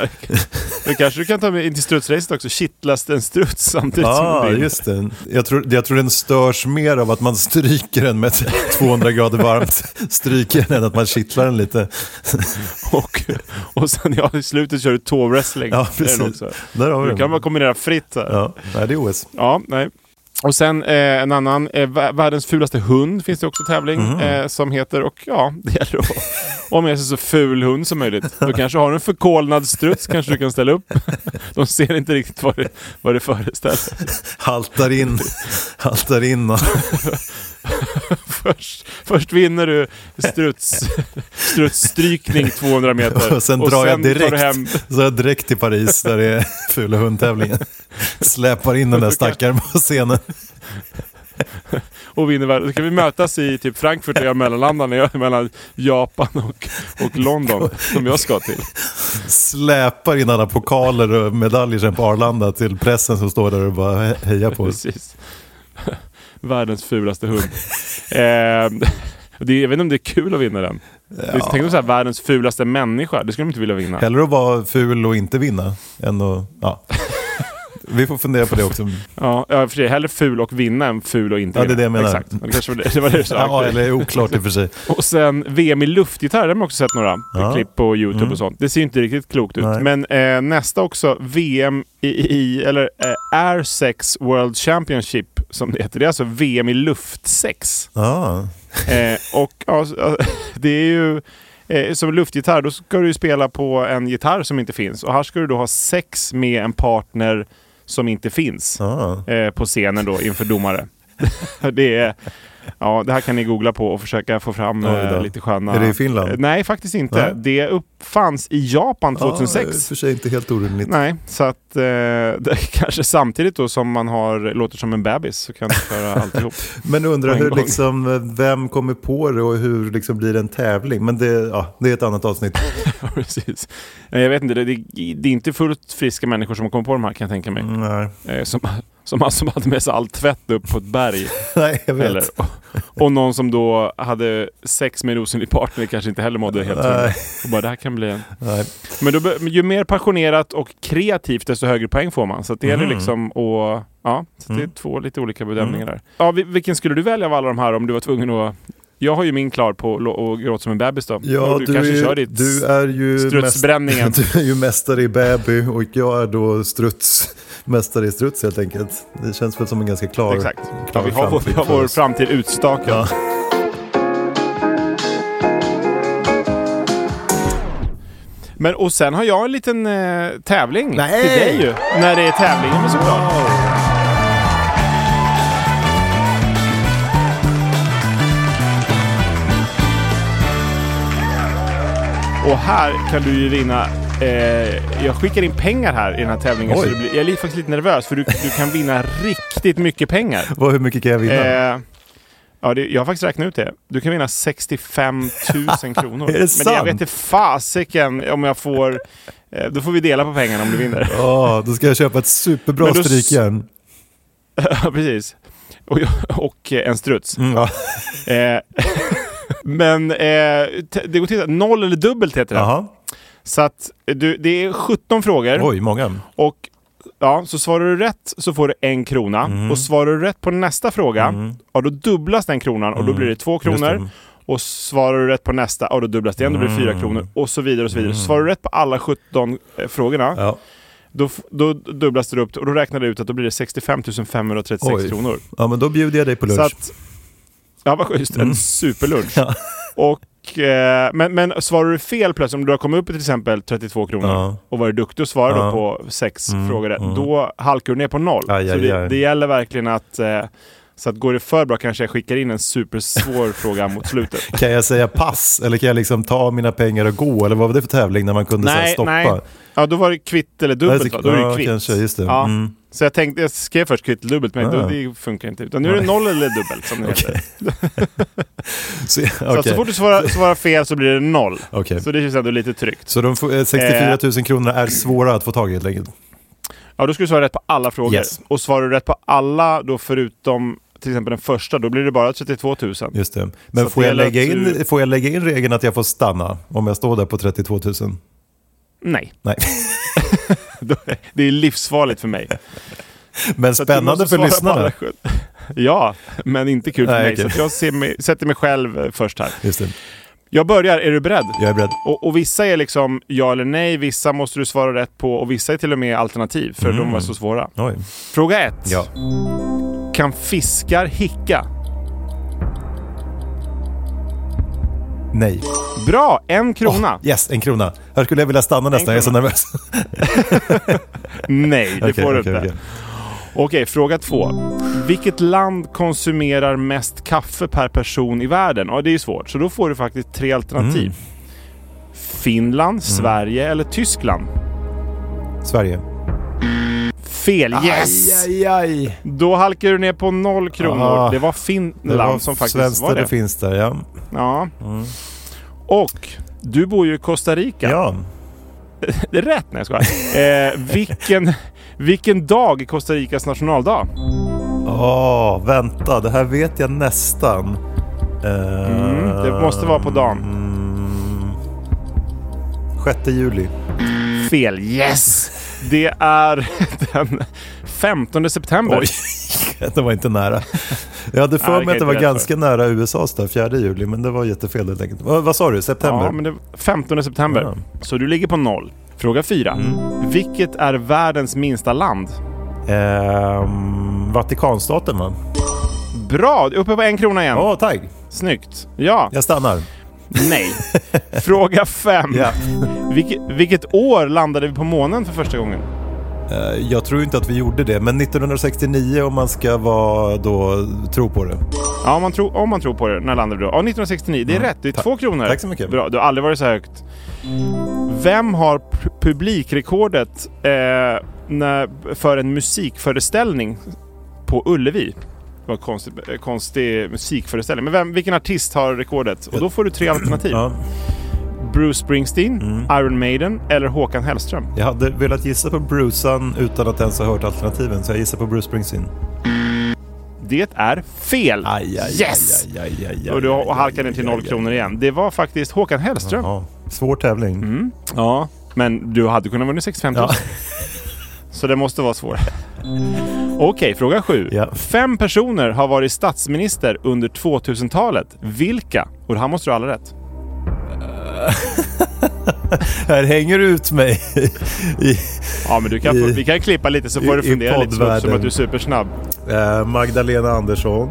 Då kanske du kan ta med in till strutsracet också, kittlas det en struts samtidigt
Ja,
som
ah,
en bild?
just det. Jag tror, jag tror den störs mer av att man stryker den med 200 grader varmt, stryker den än att man kittlar den lite.
Och, och sen ja, i slutet kör du tåwrestling.
Ja,
Det är den
precis. Där har vi
Du kan
den.
bara kombinera fritt här.
Ja, nej, det är OS.
Ja, nej. Och sen eh, en annan, eh, vä- världens fulaste hund finns det också tävling
Mm.
eh, som heter och ja, det gäller att ha med sig så ful hund som möjligt. Du kanske har en förkolnad struts kanske du kan ställa upp. De ser inte riktigt vad det, vad det föreställer.
Haltar in, haltar in.
Först, först vinner du struts, strutsstrykning 200 meter
Och sen drar jag
tar du
direkt,
hem
så drar jag direkt till Paris där det är fula hundtävlingen. Släpar in den där stackaren på scenen.
och vinner världen. Då kan vi mötas i typ Frankfurt och jag mellanlandar när jag är mellan Japan och, och London som jag ska till.
Släpar in alla pokaler och medaljer sen på Arlanda till pressen som står där och bara he- hejar på oss.
Precis. Världens fulaste hund. eh, det, är- jag vet inte om det är kul att vinna den. Ja. Tänk om så här, världens fulaste människa. Det skulle de inte vilja vinna.
Hellre att vara ful och inte vinna än att... Ja. Vi får fundera på det också.
Ja, ja, i och för sig. Hellre ful och vinna än ful och inte
Ja, det är
vinna.
det jag menar.
Exakt. Men det kanske var det, det, var det du sa.
Ja, eller oklart i och för sig.
Och sen VM i luftgitarr, det har man också sett några
Ja. Mm.
klipp på Youtube och sånt. Det ser ju inte riktigt klokt ut.
Nej.
Men eh, nästa också, VM i, i eller eh, Air Sex World Championship som det heter. Det är alltså VM i luftsex.
Ja.
Eh, och ja, s- ja, det är ju eh, som luftgitarr, då ska du ju spela på en gitarr som inte finns. Och här ska du då ha sex med en partner som inte finns
Ja.
eh, på scenen då inför domare. det är... Ja, det här kan ni googla på och försöka få fram
Oj då.
eh, lite sköna...
Är det i Finland?
Eh, nej, faktiskt inte.
Nej. Ah,
Det uppfanns i Japan
Ja, i och
2006.
för sig inte helt orimligt.
Nej, så att eh, det kanske samtidigt då som man har, låter som en bebis så kan du köra alltihop.
Men
På
undrar
en
hur,
gång.
liksom, vem kommer på det och hur liksom, blir det en tävling? Men det, ja, det är ett annat avsnitt.
Precis. Nej, Jag vet inte, det, det, det är inte fullt friska människor som har kommit på de här kan jag tänka mig.
Mm, Nej,
Eh, Som, som, alltså hade med sig all tvätt upp på ett berg.
Nej jag vet.
Eller, och, och någon som då hade sex med en osynlig partner kanske inte heller mådde helt hundra.
Nej.
Och bara det här kan bli en...
Nej.
Men då, be- men ju mer passionerat och kreativt desto högre poäng får man. Så att det
Mm.
gäller liksom att... Ja, så det är två lite olika bedömningar där. Ja, vi- vilken skulle du välja av alla de här om du var tvungen att... Jag har ju min klar på lo- och gråta som en bebis då.
Ja,
Och
du,
kanske
är,
kör ditt
du är ju
strutsbränningen.
mäst- Du är ju mästare i baby och jag är då struts. Mästare i struts helt enkelt. Det känns väl som en ganska klar
Exakt. Ja,
klar
vi, har vår, vi
framtid
har
för
vår
oss.
framtid utstakad.
Ja.
Men och sen har jag en liten eh, tävling
Nej!
till dig ju. När det är tävling, men såklart. Och här kan du ju vinna... Eh, jag skickar in pengar här i den här tävlingen. Så
Oj.
det blir, jag är lite- faktiskt lite nervös för du, du kan vinna riktigt mycket pengar.
Vad, hur mycket kan jag vinna?
Eh, ja, det, jag har faktiskt räknat ut det. Du kan vinna 65 000 kronor.
Är det
Men jag
sant?
vet inte fasiken om jag får... Eh, då får vi dela på pengarna om du vinner.
Ja, då ska jag köpa ett superbra
Men då s-
strykjärn.
Ja, precis. Och, jag- och eh, en struts.
Mm, ja.
Eh, men eh, t- det går till att noll eller dubbelt heter det.
Jaha.
Så att eh, du, det är 17 frågor.
Oj, många.
Och ja, så svarar du rätt så får du en krona.
Mm.
Och svarar du rätt på nästa fråga, ja då dubblas den kronan och då blir det två kronor.
Mm. det. Mm.
Och svarar du rätt på nästa, ja då dubblas det igen, då blir det fyra kronor. Och så vidare och så vidare. Så svarar du rätt på alla 17 frågorna,
Ja.
då, f- då dubblas det upp och då räknar du ut att då blir det 65 536
Oj.
kronor.
ja, men då bjuder jag dig på lunch. Mm.
Så att, ja, vad schysst. En superlunch.
Ja.
Och, eh, men, men svarar du fel plötsligt, om du har kommit upp i till exempel 32 kronor
Ja.
och varit duktig och svarar
Ja. Mm,
då på sex frågor rätt, då halkar du ner på noll.
Aj,
så
aj,
det,
aj.
det gäller verkligen att eh, så att går det för bra kanske jag skickar in en supersvår fråga mot slutet.
Kan jag säga pass eller kan jag liksom ta mina pengar och gå? Eller vad var det för tävling när man kunde så här
Nej,
stoppa?
nej. Ja, då var det kvitt eller
Nej,
dubbelt
så-
va? Då är det
ja,
ju kvitt.
kanske, just det.
Ja.
Mm.
Så jag tänkte, jag skrev först kvitt eller dubbelt, men
Ah.
då, det funkar inte. Utan nu är det noll eller dubbelt som det heter.
Så,
Så,
okej.
att så fort du svarar, svarar fel så blir det noll.
Okej.
Så det känns ändå lite tryggt.
Så de får- eh, 64 000 kronor är svåra att få tag i helt enkelt.
Ja, då ska du svara rätt på alla frågor.
Yes.
Och svarar du rätt på alla då förutom till exempel den första, då blir det bara 32 000.
Just det.
Så
Men får
det
jag,
gäller
lägga
att
in,
du-
får jag lägga in regeln att jag får stanna om jag står där på 32 000?
Nej,
Nej.
det är livsfarligt för mig.
Men
Så att du
spännande
måste
för
svara på alla
lyssnarna.
sju. Ja, men inte kul för
Nej,
mig.
okej.
Så att jag ser mig, sätter mig själv eh, först här.
Just det.
Jag börjar, är du beredd?
Jag är beredd.
Och, och vissa är liksom ja eller nej, vissa måste du svara rätt på och vissa är till och med alternativ för de var så svåra.
Oj.
Fråga ett.
Mm. Ja.
Kan fiskar hicka?
Nej.
Bra, en krona.
Yes, en krona. Här skulle jag vilja stanna nästan, jag är så
Ah. krona.
nervös.
Nej, det
Okej,
får du
okej,
inte.
okej.
Okej, fråga två. Vilket land konsumerar mest kaffe per person i världen? Ja, det är ju svårt. Så då får du faktiskt tre alternativ.
Mm.
Finland, Sverige eller Tyskland?
Sverige.
Fel! Yes!
Aj, aj, aj.
Då halkar du ner på noll kronor.
Ah.
det var Finland
Det var
som faktiskt
svenskt
var
där
det.
det finns där, ja.
ja. Och du bor ju i Costa Rica.
Ja,
Det är rätt, när jag skojar. eh, vilken, vilken dag är Costa Ricas nationaldag?
Åh, Ah, vänta, det här vet jag nästan.
Mm,
Eh,
det måste vara på dagen.
6 Ehm, juli.
Fel. Yes! Det är den 15 september.
Oj, det var inte nära. Jag hade
Nej,
för
det
mig
kan
att det
jag
var
inte rätt
ganska nära USAs där, 4 juli, men det var jättefel helt enkelt. Vad, vad sa du, september?
Ja, men det 15 september.
Ja. Mm.
Så du ligger på noll. Fråga fyra. Vilket är världens minsta land?
Ehm, Vatikanstaten va?
Bra! Uppe på en krona igen.
Ja, tack.
Snyggt. Ja.
Jag stannar.
Nej. Fråga fem.
Ja.
Vilke, vilket år landade vi på månen för första gången?
Eh, Jag tror inte att vi gjorde det, men 1969 om man ska vara då, tro på det.
Ja, om man, tror, om man tror på det. När landade du då? Ja, 1969. Det är rätt. Det är
Mm. Tack.
två kronor.
Tack så mycket.
Bra. Du har aldrig varit så högt. Vem har pu- publikrekordet eh, när, för en musikföreställning på Ullevi? Det var konstig, eh, konstig musikföreställning. Men vem, vilken artist har rekordet? Och då får du tre alternativ.
Ja, Mm.
Bruce Springsteen, Iron Maiden eller Håkan Hellström.
jag hade velat gissa på Brucean utan att ens ha hört alternativen, så jag gissar på Bruce Springsteen.
Det är fel! yes!
Aj, aj, aj, aj, aj,
och du
aj, aj,
halkar ner till
aj,
noll
aj,
kronor igen. Det var faktiskt Håkan Hellström.
Ja, svår tävling.
Mm. Ja, men du hade kunnat vinna 65 000.
Ja.
Så det måste vara svårt. Okej, fråga sju.
Ja.
Fem personer har varit statsminister under 2000-talet. Vilka? Och det här måste du ha alla rätt.
Här hänger du ut mig. I,
Ja, men du kan,
I-
vi kan klippa lite så
i-
får du
i
fundera lite som, som
poddvärlden.
att du är supersnabb.
eh, Magdalena Andersson,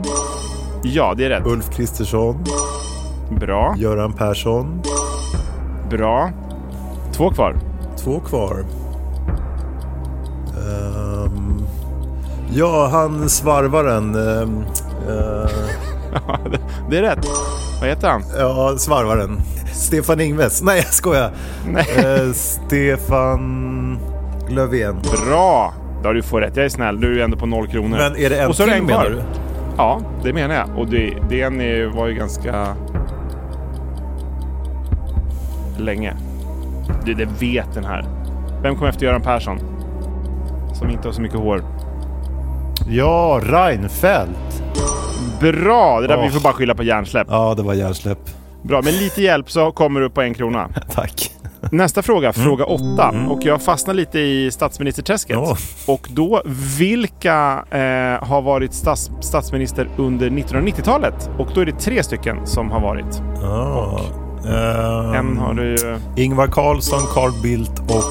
Ja, det är rätt.
Ulf Kristersson,
Bra,
Göran Persson.
bra. Två kvar.
Två kvar. Ehm, ja, han svarvaren. ehm, eh,
Det är rätt. Vad heter han?
ja, svarvaren. Stefan Ingves. Nej, jag skojar. Eh, Stefan Löfven.
Bra! Ja, du får rätt. Jag är snäll. Du är ändå på noll kronor.
Men är det en
Och så är det
till
en kvar.
menar du?
Ja, det menar jag. Och det, den är- var ju ganska länge. Det, det vet den här. Vem kom efter Göran Persson? Som inte har så mycket hår.
Ja, Reinfeldt.
Bra! Det där
Åh.
vi får bara skylla på hjärnsläpp.
Ja, det var hjärnsläpp.
Bra, men lite hjälp så kommer du på en krona.
Tack.
Nästa fråga, fråga åtta. Och jag fastnar lite i statsministerträsket.
Ja.
Och då, vilka eh, har varit stats, statsminister under 1990-talet? Och då är det tre stycken som har varit.
Mm. Ja. Ehm,
En har du ju...
Ingvar Carlsson, Carl Bildt och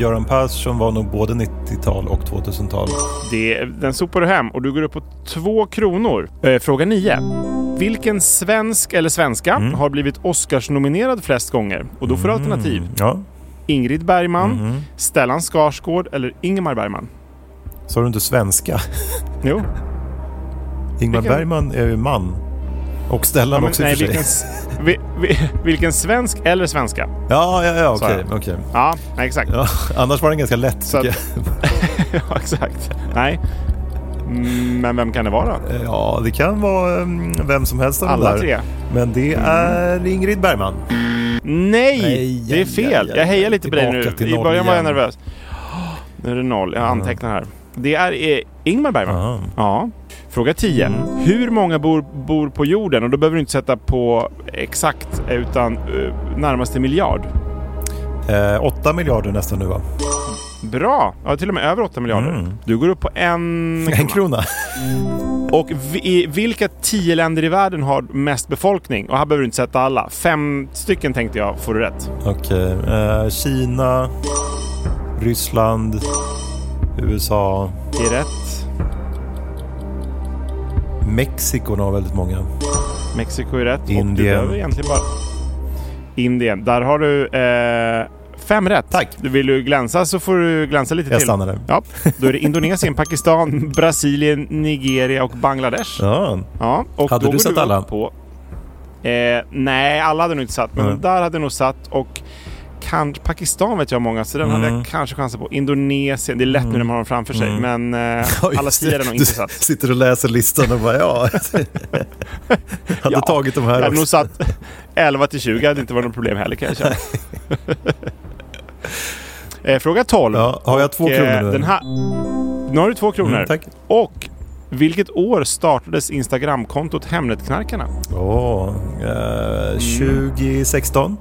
Göran Persson var nog både 90-tal och 2000-tal.
Det, den sopar du hem och du går upp på två kronor. Eh, fråga nio. Vilken svensk eller svenska har blivit Oscarsnominerad flest gånger? Och då får du alternativ.
Ja,
Ingrid Bergman, Stellan Skarsgård eller Ingmar Bergman.
sa du inte svenska?
Jo.
Ingmar
Vilken-
Bergman är ju man. Och Stellan
men
också i och för
vilken,
sig.
s- vi, vi, vilken svensk eller svenska?
Ja, ja, ja,
Sa
okej.
jag.
okej.
Ja, nej, exakt.
Ja, annars var den ganska lätt
Så
tycker
Ja, exakt. Nej. Mm, Men vem kan det vara?
jag. Ja, det kan vara mm, vem som helst av de
Alla
där.
tre. Mm.
Men det är Ingrid Bergman.
Nej,
Nej,
det är
aj,
fel.
aj, aj,
jag hejar
aj.
lite på dig
Tillbaka
nu.
till
I
noll
början var jag
igen.
nervös. Nu är det noll. Jag antecknar här. Det är eh, Ingmar Bergman. Ja. Fråga 10.
Mm.
Hur många bor, bor på jorden? Och då behöver du inte sätta på exakt utan eh, närmaste miljard.
Eh, 8 miljarder nästan nu va?
Bra! Ja, till och med över 8 miljarder.
Mm.
Du går upp på en...
En krona.
Och vi- i vilka 10 länder i världen har mest befolkning? Och här behöver du inte sätta alla. Fem stycken tänkte jag får du rätt.
Okej. Eh, Kina, Ryssland, USA,
Det är rätt.
Mexiko har väldigt många.
Mexiko är rätt. Och du
Indien.
behöver egentligen bara... Indien. Där har du eh, fem rätt.
Tack.
Du vill du glänsa så får du glänsa lite
Jag
till.
stannar där.
Ja, då är det Indonesien, Pakistan, Brasilien, Nigeria och Bangladesh.
Ja.
Ja, och
Hade
då
du
går
satt
upp
alla?
På, eh, nej, alla hade nog inte satt, men
Nej.
den där hade jag nog satt och kan, Pakistan vet jag många, så den
Mm.
hade jag kanske chansen på. Indonesien, det är lätt nu när man har dem framför sig,
Mm.
men eh,
Oj,
alla tio hade nog inte satt.
Du sitter och läser listan och bara ja. Hade
Ja,
tagit de
Jag
här
hade nog
också.
satt 11 till 20, hade inte varit något problem heller kan jag känna. eh, fråga 12.
Ja, har jag två
Och,
kronor
eh,
nu?
Den här... Nu har du två kronor.
Mm, tack.
Och vilket år startades Instagramkontot Hemnetknarkarna?
Åh, eh,
Mm.
2016?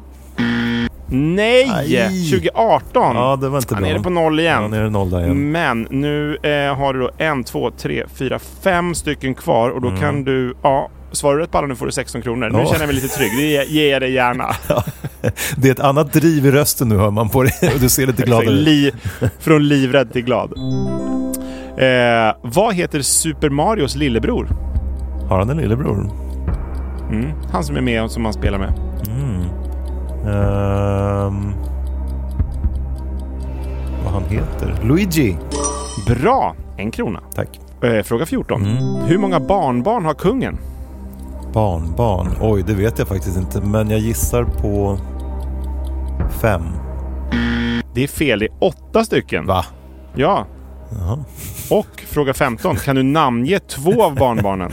Nej!
Aj.
2018!
Ja, det var inte
Han
bra.
är på noll
Ja,
igen. Mm.
nere i noll där igen.
Men nu eh, har du då en, två, tre, fyra, fem stycken kvar och då kan du... Ja, svarar du rätt på alla nu får du 16 kronor. Nu
Mm. Ja.
känner jag mig lite trygg. Det ger- ger jag dig gärna.
Det är ett annat driv i rösten nu hör man på dig. Och Du ser lite glad
Exakt,
ut.
Alltså, li, från livrädd till glad. Eh, vad heter Super Marios lillebror?
Har han en lillebror?
Han som är med och som han spelar med.
Ehm, vad han heter? Luigi.
Bra! En krona.
Tack.
Eh, fråga 14.
Mm.
Hur många barnbarn har kungen?
Barnbarn. Oj, det vet jag faktiskt inte. Men jag gissar på fem.
Det är fel. Det är åtta stycken.
Va?
Ja. Och fråga 15. Kan du namnge två av barnbarnen?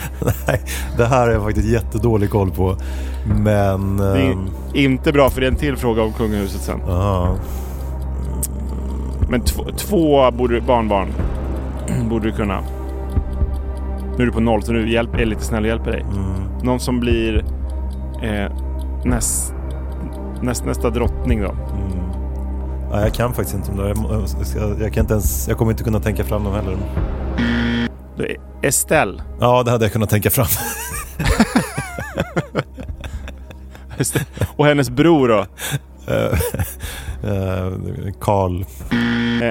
Nej, det här har jag faktiskt jättedålig koll på. Men...
Det är
ehm,
inte bra för det är en till fråga om kungahuset sen.
ja.
Men två, två borde, du- barnbarn borde du kunna. Nu är du på noll, så nu hjälp, är jag lite snäll och hjälper dig.
Mm.
Någon som blir eh, näst, näst, nästa drottning då.
Nej, jag kan faktiskt inte de där. Jag, må- jag ska- jag, kan inte ens, jag kommer inte kunna tänka fram dem heller.
då är Estelle.
Ja, det hade jag kunnat tänka fram.
Estelle. Och hennes bror då.
Eh, Karl.
Eh,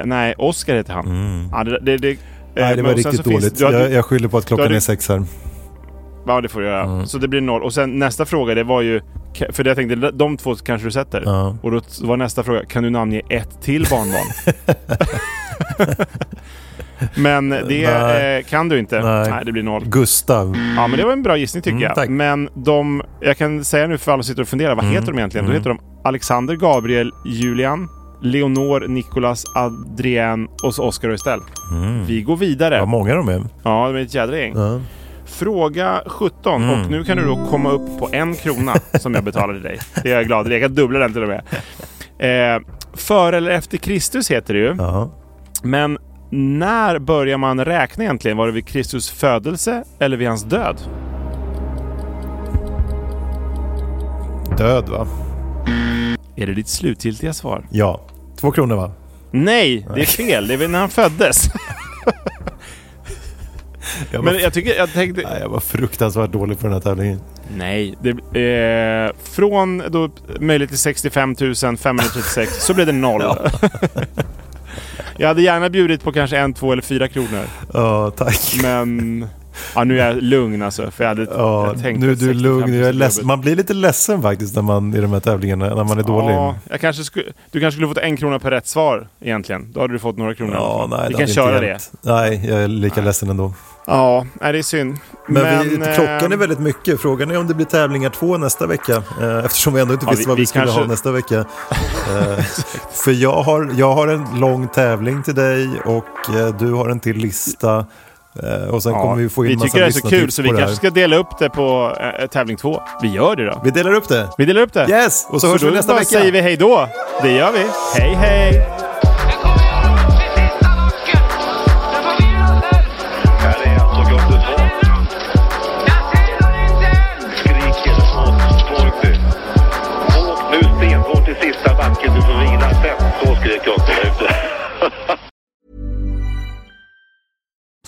nej, Oscar heter han.
Mm.
Ja, det, det, det, eh,
Nej, det
men
var
och sen
riktigt
så finns-
dåligt.
du hade-
jag, jag skyller på att klockan
hade-
är sex här.
Ja, det får du göra.
Mm.
Så det blir noll. Och sen nästa fråga, det var ju... För jag tänkte, de två kanske du sätter.
Ja.
Och då var nästa fråga, kan du namnge ett till barnbarn? men det
Nej.
eh, kan du inte.
Nej.
Nej. det blir noll.
Gustav.
Ja, men det var en bra gissning tycker
Mm,
jag.
tack.
Men de... Jag kan säga nu för alla som sitter och funderar, vad
Mm.
heter de egentligen? Då heter de Alexander, Gabriel, Julian, Leonor, Nicolas, Adrien och så Oscar och Estelle. Vi går vidare.
Vad många de är.
Ja, de är ett jädra gäng.
Mm. Ja. Mm.
Fråga 17 och nu kan du då komma upp på en krona som jag betalade dig. Det är jag glad över. Jag kan dubbla den till och med. Eh, före eller efter Kristus heter det ju.
Ja.
Men när börjar man räkna egentligen? Var det vid Kristus födelse eller vid hans död?
Död va?
Är det ditt slutgiltiga svar?
Ja. Två kronor va?
Nej, det är fel. Det är väl när han föddes.
Jag var,
Men jag tycker, jag tänkte,
nej, jag var fruktansvärt dålig på den här tävlingen.
Nej, det, eh, från då möjligt till 65 536 så blev det noll. jag hade gärna bjudit på kanske en, två eller fyra kronor.
Ja, tack.
Men ja, nu är jag lugn alltså. För jag hade
Ja,
jag tänkte
nu är du
65
lugn. Jag är ledsen.
jobbigt.
Man blir lite ledsen faktiskt när man, i de här tävlingarna, när man
Ja,
är dålig.
jag kanske skulle, du kanske skulle fått en krona per rätt svar egentligen. Då hade du fått några kronor. i alla
Ja,
fall.
nej,
Vi
det
kan
hade
köra
inte
det.
hjälpt. Nej, jag är lika ledsen ändå.
Ja, nej, det är synd.
Men, vi,
Men,
klockan är
ehm,
väldigt mycket. Frågan är om det blir tävlingar två nästa vecka. Eh, eftersom vi ändå inte
Ja,
visste
vi-
vad vi,
vi
skulle
kanske-
ha nästa vecka. Eh, för jag har, jag har en lång tävling till dig och eh, du har en till lista. Eh, och sen kommer vi få in
vi
massa
tycker det är så
lyssnartips
kul så vi
på det här.
kanske ska dela upp det på eh, tävling två. Vi gör det då.
Vi delar upp det.
Vi delar upp det.
Yes! Och så hörs
då
vi nästa
bara
vecka.
säger vi hej då. Det gör vi. Hej, hej!
Här är alltså Gotteborg.